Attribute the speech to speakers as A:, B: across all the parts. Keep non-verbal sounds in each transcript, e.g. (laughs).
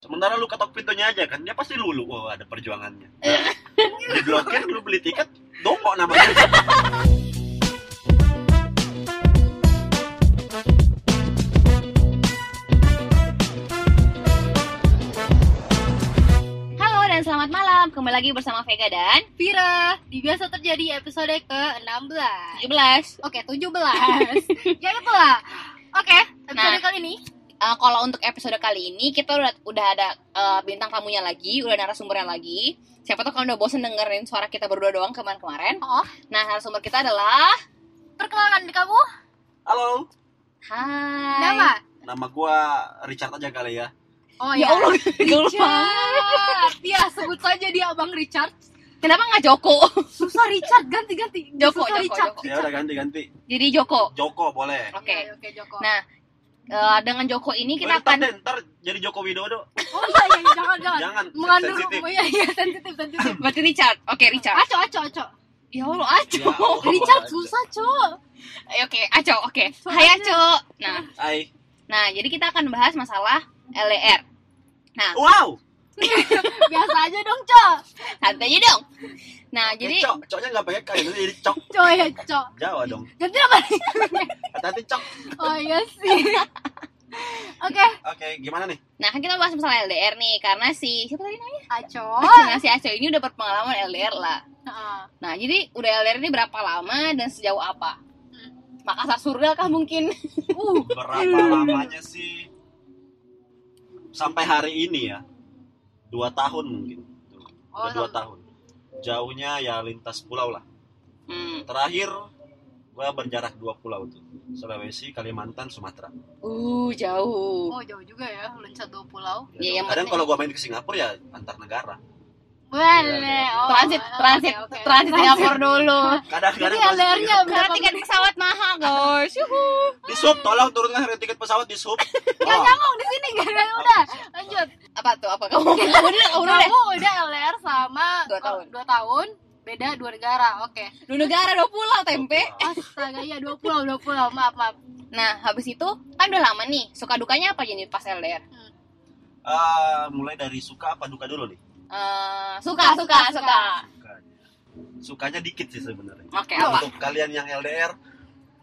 A: Sementara lu ketok pintunya aja kan, dia pasti lulu. Wah, ada
B: (laughs)
A: perjuangannya. Diblokir, lu beli tiket, dongkok namanya.
C: Halo dan selamat malam. Kembali lagi bersama Vega dan
B: Vira, di biasa terjadi episode ke-16
C: 17.
B: Oke, 17
C: (laughs)
B: Ya itulah Oke, episode
C: Nah.
B: kali ini
C: Eh, kalau untuk episode kali ini kita udah udah ada eh, bintang tamunya lagi, udah narasumbernya lagi. Siapa tuh kalau udah bosen dengerin suara kita berdua doang kemarin-kemarin.
B: Oh.
C: Nah, narasumber kita adalah
B: Perkenalkan di kamu,
A: Halo,
C: Hai.
B: nama?
A: nama gua Richard aja kali ya.
B: Oh
C: (laughs) Ya
B: (laughs)
C: Allah, gaul banget.
B: Richard Ya, sebut saja dia Abang Richard
C: Kenapa nggak Joko?
B: Susah Richard, ganti-ganti
C: Joko, Joko,
B: Susah Richard.
C: Joko.
A: Ya udah ganti-ganti.
C: Jadi Joko.
A: Joko boleh.
C: Oke.
B: Iya, Oke, Joko
C: Nah, eh, dengan Joko ini
A: Boleh,
C: kita
A: ntar
C: akan
A: deh, ntar jadi Joko Widodo.
B: Oh iya, iya, iya, jangan, jangan
A: Jangan
B: Mengandung,
A: sensitif.
B: oh, iya, iya, sensitif, sensitif
C: berarti Richard. Oke, Richard.
B: Aco, aco, aco
C: Ah, Ya Allah, Aco.
A: Ya Allah.
B: (laughs) Richard susah, cok
C: Eh, Oke, Aco. Oke. Hai Aco. Nah,
A: Hai.
C: Nah, jadi kita akan bahas masalah LDR.
A: Wow.
B: Biasa aja dong, cok
C: Santai aja dong. Nah, jadi
A: Jadi cok, coknya nggak pakai kain, nanti jadi cok
B: Cok ya, cok
A: Jawa dong.
B: Ganti apa?
A: Hati-hati cok.
B: Oh iya sih Oke,
A: Oke, gimana nih?
C: nah kan kita bahas masalah LDR nih karena si siapa tadi namanya?
B: aco
C: Nah, si Aco ini udah berpengalaman LDR lah.
B: Nah.
C: Nah, jadi udah LDR ini berapa lama dan sejauh apa? Makassar surga kah mungkin?
B: Uh,
A: Berapa lamanya sih? Sampai hari ini ya. Dua tahun mungkin. Tuh,
B: Oh,
A: udah dua
B: tam-
A: tahun. Jauhnya ya lintas pulau lah.
C: Hmm.
A: Terakhir gua berjarak dua pulau tuh. Sulawesi, Kalimantan, Sumatera.
C: Uh, jauh.
B: oh jauh juga ya, loncat dua pulau.
A: Ya,
C: Iya, yang
A: kadang
C: penting-
A: kalau gua main ke Singapura ya antar negara.
B: Boleh. Oh,
C: transit,
B: oke,
C: transit,
B: oke.
C: transit Singapura (laughs) dulu.
A: Kadang-kadang
B: Jadi
A: masih-
B: LDR-nya
C: Karena
B: berapa?
C: tiket pesawat mahal, guys. Yuhu.
A: di sub tolong turunkan harga tiket pesawat di Oh. sub.
B: Nggak
A: Tolong.
B: nyambung di sini, nggak ada. Udah, lanjut.
C: Apa tuh? Apa kamu? Kamu (laughs) udah, kamu udah.
B: Kamu udah LDR sama
C: Dua tahun.
B: oh, dua tahun, beda dua negara. Oke.
C: Dua negara, dua pulau, tempe.
B: Astaga, iya dua pulau, dua pulau. Maaf, maaf.
C: Nah, habis itu kan udah lama nih. Suka dukanya apa jadi pas LDR?
A: Ah, mulai dari suka apa duka dulu nih?
C: Eh, suka, suka, suka.
A: Sukanya. Sukanya dikit sih sebenarnya.
C: Oke,
A: Nah,
C: apa?
A: Untuk kalian yang LDR,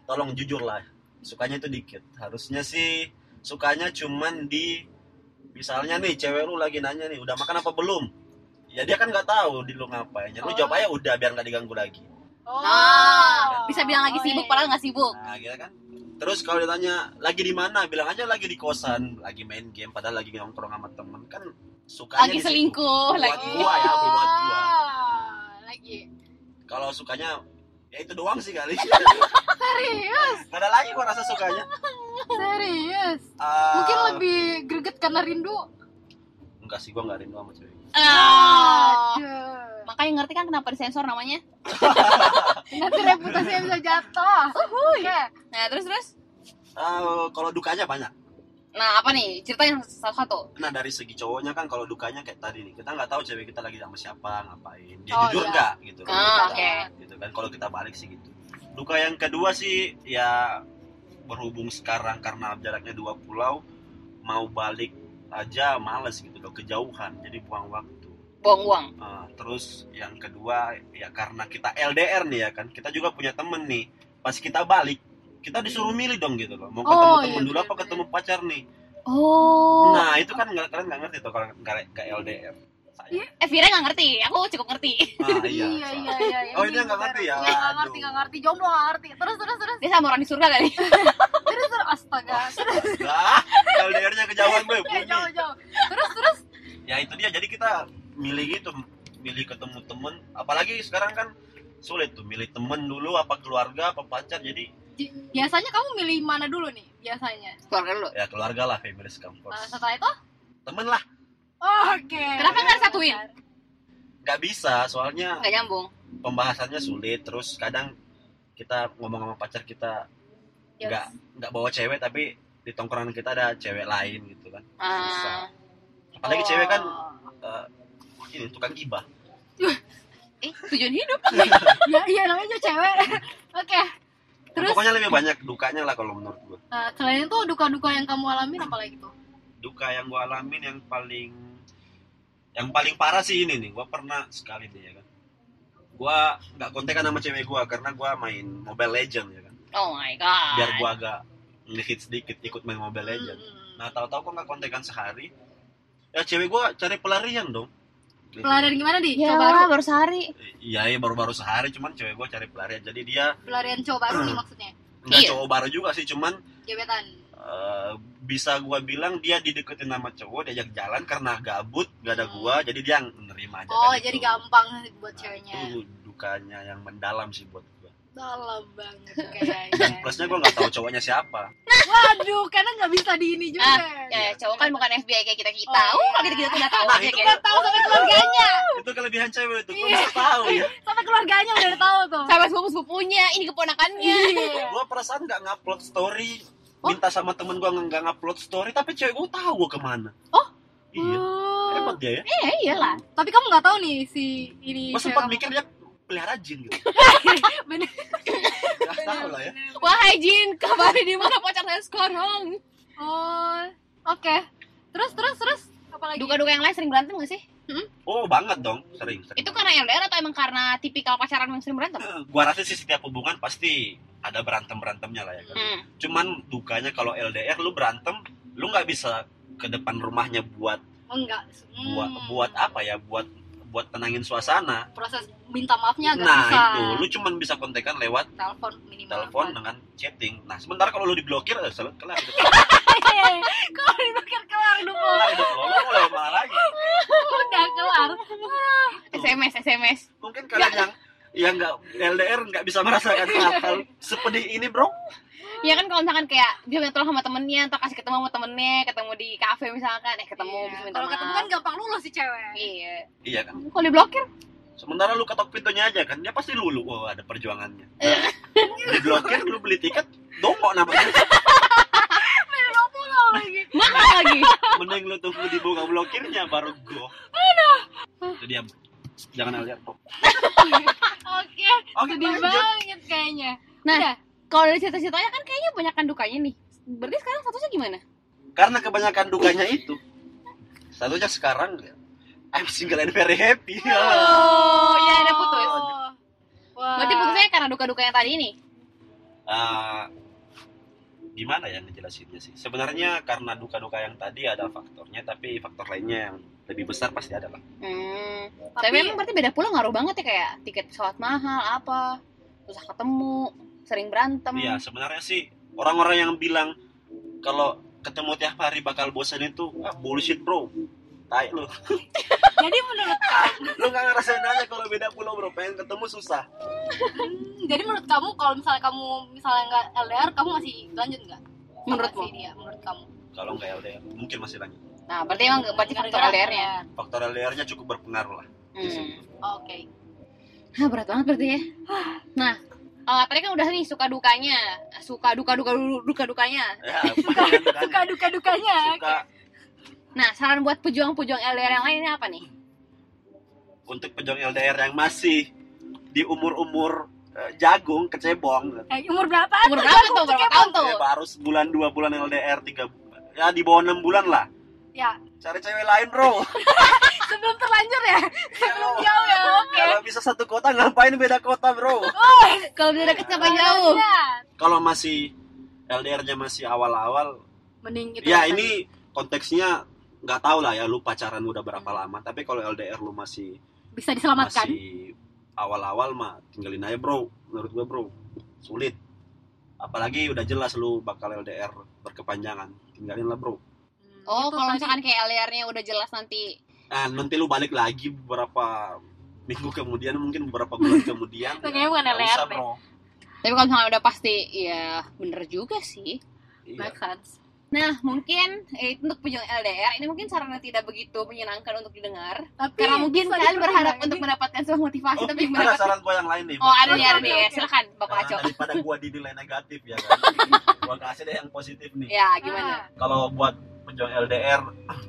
A: tolong jujur lah. Sukanya itu dikit. Harusnya sih sukanya cuman di misalnya nih cewek lu lagi nanya nih udah makan apa belum? Ya dia kan nggak tahu di lu ngapain. Ya, lu
B: Oh.
A: jawab aja udah biar nggak diganggu lagi.
B: Oh,
C: Ah, bisa bilang lagi
B: oh,
C: sibuk,
B: iya.
C: padahal nggak sibuk.
A: Nah, gitu kan. Terus kalau ditanya lagi di mana, bilang aja lagi di kosan, lagi main game padahal lagi nongkrong sama temen kan sukanya
C: Lagi
A: di situ.
C: selingkuh,
B: iya,
A: Buat
C: lagi.
A: gua ya, buat gua.
B: Ah, Lagi.
A: Kalau sukanya ya itu doang sih kali. (laughs)
B: Serius,
A: Nggak ada lagi gua rasa sukanya.
B: serius.
A: Ah,
B: Mungkin lebih greget karena rindu.
A: enggak sih gua nggak rindu sama cewek.
C: Ah.
B: Aduh.
C: Makanya ngerti kan kenapa disensor namanya?
B: Nanti reputasinya bisa jatuh. Oke.
C: Nah, terus terus.
A: Ah, kalau dukanya banyak.
C: Nah, apa nih? Ceritain satu-satu.
A: Nah dari segi cowoknya kan kalau dukanya kayak tadi nih kita nggak tahu cewek kita lagi sama siapa ngapain dia
B: Oh,
A: jujur
B: iya.
A: nggak gitu
C: Ah,
A: Kalau
C: oke.
A: gitu kan kalau kita balik sih gitu duka yang kedua sih ya berhubung sekarang karena jaraknya dua pulau mau balik aja males gitu loh kejauhan jadi buang waktu
C: Buang-buang.
A: Ah, terus yang kedua ya karena kita LDR nih ya kan kita juga punya temen nih pas kita balik kita disuruh milih dong gitu loh mau
B: Oh,
A: ketemu
B: iya,
A: temen dulu apa
B: bener-bener.
A: ketemu pacar nih
C: Oh.
A: Nah itu kan nggak kalian nggak ngerti tuh kalau nggak ke LDR. Saya.
B: Iya.
C: Eh, Vira nggak ngerti. Aku cukup ngerti. (laughs)
A: Ah,
B: Iya,
A: iya.
B: iya,
A: salah.
B: iya, iya.
A: Oh, ini yang nggak ngerti ya?
B: Iya, nggak ngerti,
A: Aduh.
B: nggak ngerti. Jomblo nggak ngerti. Terus, terus, terus.
C: Dia sama orang di surga kali.
B: Terus, terus. Astaga.
A: Nah, LDR-nya kejauhan gue
B: (laughs) Eh,
A: bunyi.
B: jauh, jauh. Terus, terus.
A: Ya itu dia. Jadi kita milih gitu, milih ketemu temen. Apalagi sekarang kan sulit tuh milih temen dulu apa keluarga apa pacar jadi
B: J- Biasanya kamu milih mana dulu nih? Biasanya.
C: Keluarga dulu.
A: ya keluarga lah family comfort
C: Eh,
B: Nah, setelah itu?
A: temen lah
B: Oke.
C: Kenapa nggak satuin?
A: nggak bisa soalnya
C: Nggak nyambung.
A: pembahasannya sulit terus kadang kita ngomong sama pacar kita
B: Yes.
A: nggak nggak bawa cewek tapi di tongkrongan kita ada cewek lain gitu kan Susah.
C: Ah.
A: apalagi cewek kan
B: Oh.
A: eh, ini tukang gibah
C: Eh, tujuan hidup.
B: Ya, iya namanya cewek. (laughs) Oke. Terus,
A: pokoknya lebih banyak dukanya lah kalau menurut gue
B: eh, selain itu duka-duka yang kamu alamin apa lagi tuh?
A: duka yang gue alamin yang paling yang paling parah sih ini nih gue pernah sekali nih ya kan gue nggak kontekan sama cewek gue karena gue main Mobile Legend ya kan
C: Oh my god.
B: Ah.
A: biar gue agak ngehit sedikit ikut main Mobile Legend
B: Mm-mm.
A: nah tahu-tahu gue nggak kontekan sehari ya cewek gue cari pelarian dong Gitu.
B: Pelarian gimana di?
C: Ya,
B: Cowok baru.
C: baru sehari.
A: Iya, iya, baru-baru sehari cuman cewek gue cari pelarian jadi dia
B: Pelarian cowok baru
A: (clears throat)
B: nih maksudnya.
A: nggak
C: Iya.
A: cowok baru juga sih cuman
B: Gebetan.
A: eh, bisa gua bilang dia dideketin sama cowok diajak jalan karena gabut gak ada gua jadi dia yang nerima aja
B: Hmm. Oh,
A: kan
B: jadi
A: itu.
B: gampang
A: Nah,
B: buat ceweknya.
A: itu dukanya yang mendalam sih buat gua
B: Dalam (laughs) banget
A: dan
B: kayaknya.
A: plusnya gua nggak tahu cowoknya siapa
B: Waduh, karena nggak bisa di ini juga.
C: Ya, cowok kan bukan FBI kayak kita-kita. Oh,
B: Oh, iya.
C: kalau kita-kita tuh udah tahu
A: Nah,
C: aja
A: itu
C: kayak.
B: Udah tahu sampai keluarganya,
A: itu kelebihan cewek itu gua
B: Iya.
A: bisa tahu ya
B: sampai keluarganya udah tahu tuh.
C: Sama sepupu-sepupunya, ini keponakannya.
B: (laughs) Iya. Oh.
A: gua perasaan nggak ngupload story minta sama temen gua nggak ngupload story tapi cewek gua tahu gua kemana
C: Oh.
A: iya
B: Oh.
A: hebat dia ya
C: Eh, iyalah.
B: Tapi kamu nggak tahu nih si ini.
A: gua
B: cewek
A: sempat
B: kamu.
A: mikir dia pelihara jin gitu
B: (laughs) Bener.
A: nggak tahu lah ya
C: Wahai Jin, kemarin di (laughs) mana pacar saya sekarang?
B: Oh, oke. Terus terus terus apa lagi?
C: Duka-duka yang lain sering berantem gak sih?
A: oh banget dong sering, sering
C: Itu karena LDR atau emang karena tipikal pacaran yang sering berantem?
A: gua rasa sih setiap hubungan pasti ada berantem berantemnya lah ya kan.
C: Hmm.
A: Cuman dukanya kalau LDR lu berantem, lu nggak bisa ke depan rumahnya buat
B: Oh, enggak. Hmm.
A: buat buat apa ya? Buat buat tenangin suasana.
B: Proses minta maafnya agak
A: Nah
B: susah.
A: itu, lu cuman bisa kontekan lewat
B: telepon minimal.
A: telepon dengan chatting. Nah sementara kalau lu diblokir, eh, salah kelar. hidup
B: Hehehe. Kalau dipikir kelar dulu.
A: kelar, hidup lo, lu mau lewat mana lagi?
B: Udah kelar.
A: Tuh.
C: SMS, SMS.
A: Mungkin kalian yang yang nggak LDR nggak bisa merasakan hal sepedih ini bro.
C: Ya kan kalau misalkan kayak dia minta tolong sama temennya, atau kasih ketemu sama temennya, ketemu di kafe misalkan, eh ketemu
B: Iya.
C: bisa minta
B: Kalau
C: maaf.
B: ketemu kan gampang lulus si cewek.
C: Iya.
A: Iya kan.
C: Kalau diblokir?
A: Sementara lu ketok pintunya aja kan, dia pasti lulu. Wah, ada perjuangannya.
B: Eh.
A: Diblokir lu beli tiket, dongkok namanya.
B: Tahu lagi.
C: Mahal lagi.
A: Mending lu tunggu dibuka blokirnya baru go. Aduh. Itu dia. Jangan lihat kok.
B: (laughs) Oke,
A: Oke,
B: sedih
A: lanjut.
B: banget kayaknya.
C: Nah,
B: Udah.
C: Kalau dari cerita-ceritanya kan kayaknya banyakkan dukanya nih. Berarti sekarang statusnya gimana?
A: Karena kebanyakan dukanya itu. Satunya sekarang I'm single and very happy.
C: Oh, ya ada putus.
B: Oh. ya? Wah.
C: Berarti putusnya karena duka-duka yang tadi ini.
A: Ah, gimana ya ngejelasinnya sih? Sebenarnya karena duka-duka yang tadi ada faktornya, tapi faktor lainnya yang lebih besar pasti ada lah.
C: Hmm. Tapi,
B: Tapi
C: (laughs) memang berarti beda pulau ngaruh banget ya kayak tiket pesawat mahal apa, susah ketemu, sering berantem.
A: Iya,
B: Hmm.
A: sebenarnya sih orang-orang yang bilang kalau ketemu tiap hari bakal bosan itu ah, bullshit bro. Tai lu. (laughs)
B: jadi menurut kamu,
A: Lu gak ngerasain aja kalau beda pulau bro, pengen ketemu susah.
B: hmm, jadi menurut kamu kalau misalnya kamu misalnya nggak LDR, kamu masih lanjut nggak? Sama
C: Menurutmu?
B: si dia, menurut kamu?
A: Kalau nggak LDR, mungkin masih lanjut.
C: Nah, berarti emang berarti faktor
B: Gara-gara
C: LDR-nya.
B: LDR.
A: Faktor LDR-nya cukup berpengaruh lah. di
C: Hmm.
A: situ.
B: Oke.
C: Hah, berat banget berarti ya. Nah, eh, tadi kan udah nih suka dukanya, suka duka duka duka dukanya.
A: Ya, banyak
B: (laughs) Suka
A: dukanya.
B: duka dukanya.
A: Suka
C: Nah, saran buat pejuang-pejuang LDR yang lainnya apa nih?
A: untuk pejuang LDR yang masih di umur-umur eh, jagung kecebong.
B: Eh, umur berapa?
C: Umur berapa tuh? Berapa tahun tuh?
A: Eh, baru sebulan dua bulan LDR tiga ya di bawah enam bulan lah.
B: Ya,
A: Cari cewek lain
B: (laughs)
A: bro. Iya,
B: sebelum terlanjur
C: (laughs)
B: ya. Sebelum jauh ya. Oke.
A: Kalau bisa satu kota ngapain beda kota bro?
C: Kalau udah deket sampai jauh.
A: kalau masih LDR-nya masih awal-awal,
B: Mending gitu.
C: kan
A: ya ini konteksnya nggak tahu lah ya lu pacaran udah berapa
C: Hmm.
A: lama. Tapi kalau LDR lu masih
B: bisa diselamatkan.
A: masih awal-awal mah tinggalin aja bro. Menurut gua bro sulit. Apalagi udah jelas lu bakal LDR berkepanjangan, tinggalin lah bro.
B: Hmm,
C: Oh,
B: itu
C: kalau
B: tadi.
C: misalkan kayak LDR-nya udah jelas nanti.
A: Nah, nanti lu balik lagi beberapa minggu kemudian mungkin beberapa
C: (laughs)
A: bulan kemudian. ya,
B: Itu kayaknya bukan
A: nggak
B: LDR
A: usah,
B: deh.
A: bro.
C: Tapi kalau misalkan udah pasti, ya bener juga sih.
A: Iya.
B: Make sense.
C: Nah, mungkin eh, untuk pejuang LDR ini mungkin saran yang tidak begitu menyenangkan untuk didengar.
B: Tapi
C: Karena mungkin
B: bisa
C: kalian berharap
B: dipertimbangkan.
C: untuk mendapatkan sebuah motivasi,
A: Oh,
C: tapi
A: ada
C: mendapatkan
A: saran gua yang lain nih.
C: Oh, ada nih, ada
A: Oke,
C: nih.
A: oke.
C: Silakan, Bapak
A: Nah,
C: Aco.
A: daripada gua dinilai negatif ya kan gua kasih deh yang positif nih
B: Ah.
C: Ya, gimana?
A: kalau buat pejuang LDR (clears throat)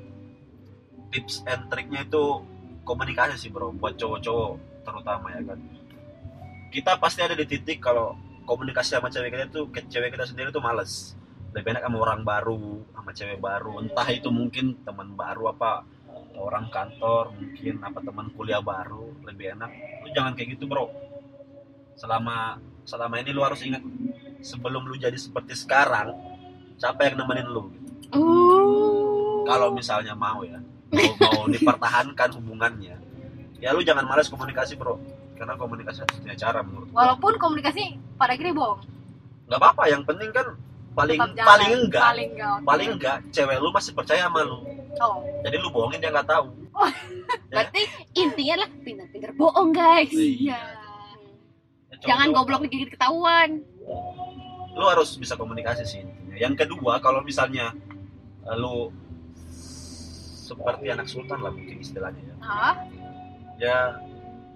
A: tips and triknya itu komunikasi sih bro buat cowok-cowok terutama ya kan kita pasti ada di titik kalau komunikasi sama cewek kita tuh ke cewek kita sendiri tuh males lebih enak sama orang baru sama cewek baru entah itu mungkin teman baru apa orang kantor mungkin apa teman kuliah baru lebih enak lu jangan kayak gitu bro selama selama ini lu harus ingat sebelum lu jadi seperti sekarang siapa yang nemenin lu
C: Oh.
A: kalau misalnya mau ya mau, mau
B: (laughs)
A: dipertahankan hubungannya ya lu jangan malas komunikasi bro karena komunikasi harus punya cara menurut gua
B: Walaupun komunikasi pada akhirnya bohong.
A: nggak apa-apa yang penting kan paling
B: tetap jalan.
A: paling enggak
B: Paling enggak. oke.
A: paling enggak cewek lu masih percaya sama lu
B: Oh.
A: jadi lu bohongin dia nggak tahu
C: Berarti intinya adalah pintar-pintar bohong guys.
A: Iya. Ya, cowok-
C: Jangan
A: cowok-
C: goblok dikit ketahuan.
A: lu harus bisa komunikasi sih intinya yang kedua kalau misalnya eh, lu seperti anak sultan lah mungkin istilahnya ya
B: Hah?
A: ya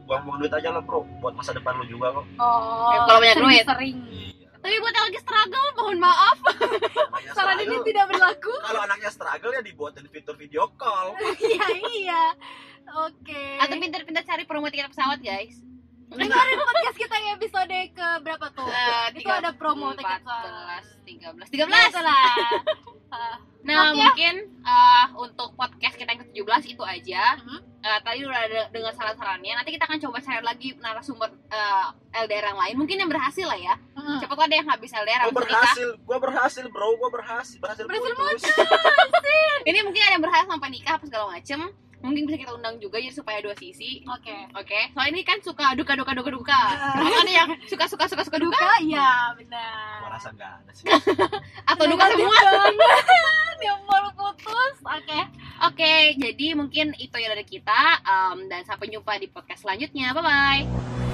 A: buang-buang duit aja lah bro buat masa depan lu juga kok
B: Oh.
C: Ya, kalau banyak
B: sering-
C: duit.
B: Sering.
A: Iya.
C: Tapi buat yang lagi struggle
B: Mohon maaf,
A: Anaknya
B: saran ini
A: struggle-
B: tidak berlaku. (laughs)
A: kalau anaknya struggle ya dibuatin fitur video call
B: Iya, iya. Oke.
C: atau pintar-pintar cari promo tiket pesawat guys.
B: Dengerin podcast kita yang episode ke berapa tuh?
C: Eh,
B: Itu
C: tiga-
B: ada promo tiket
C: 14, 13, 13.
B: Itu lah.
C: (laughs) Nah,
B: Oke. ya.
C: mungkin eh, untuk podcast kita yang ke-17 itu aja.
B: Mhm.
C: Eh, tadi udah ada dengan saran-sarannya. Nanti kita akan coba cari lagi narasumber eh, LDR yang lain. Mungkin yang berhasil lah ya.
B: Hmm.
C: Siapa tahu ada yang nggak bisa LDR
A: gue
C: habis
A: Oh,
C: nikah.
A: berhasil gue berhasil bro gue berhasil berhasil,
B: Berhasil
A: putus
C: Ini mungkin ada yang berhasil sampai nikah apa segala macem. Mungkin bisa kita undang juga jadi supaya dua sisi.
B: Oke.
C: Oke, soalnya ini kan suka duka duka duka
B: (laughs)
C: duka. Apa ada yang suka suka suka suka duka
B: Duka, iya benar.
A: gue rasa nggak ada sih
C: atau duka
B: Negatif
C: semua?
B: (laughs) banget. Ya ampun, putus. Oke.
C: ya Oke, jadi mungkin itu yang dari kita Em, dan sampai jumpa di podcast selanjutnya. Bye bye.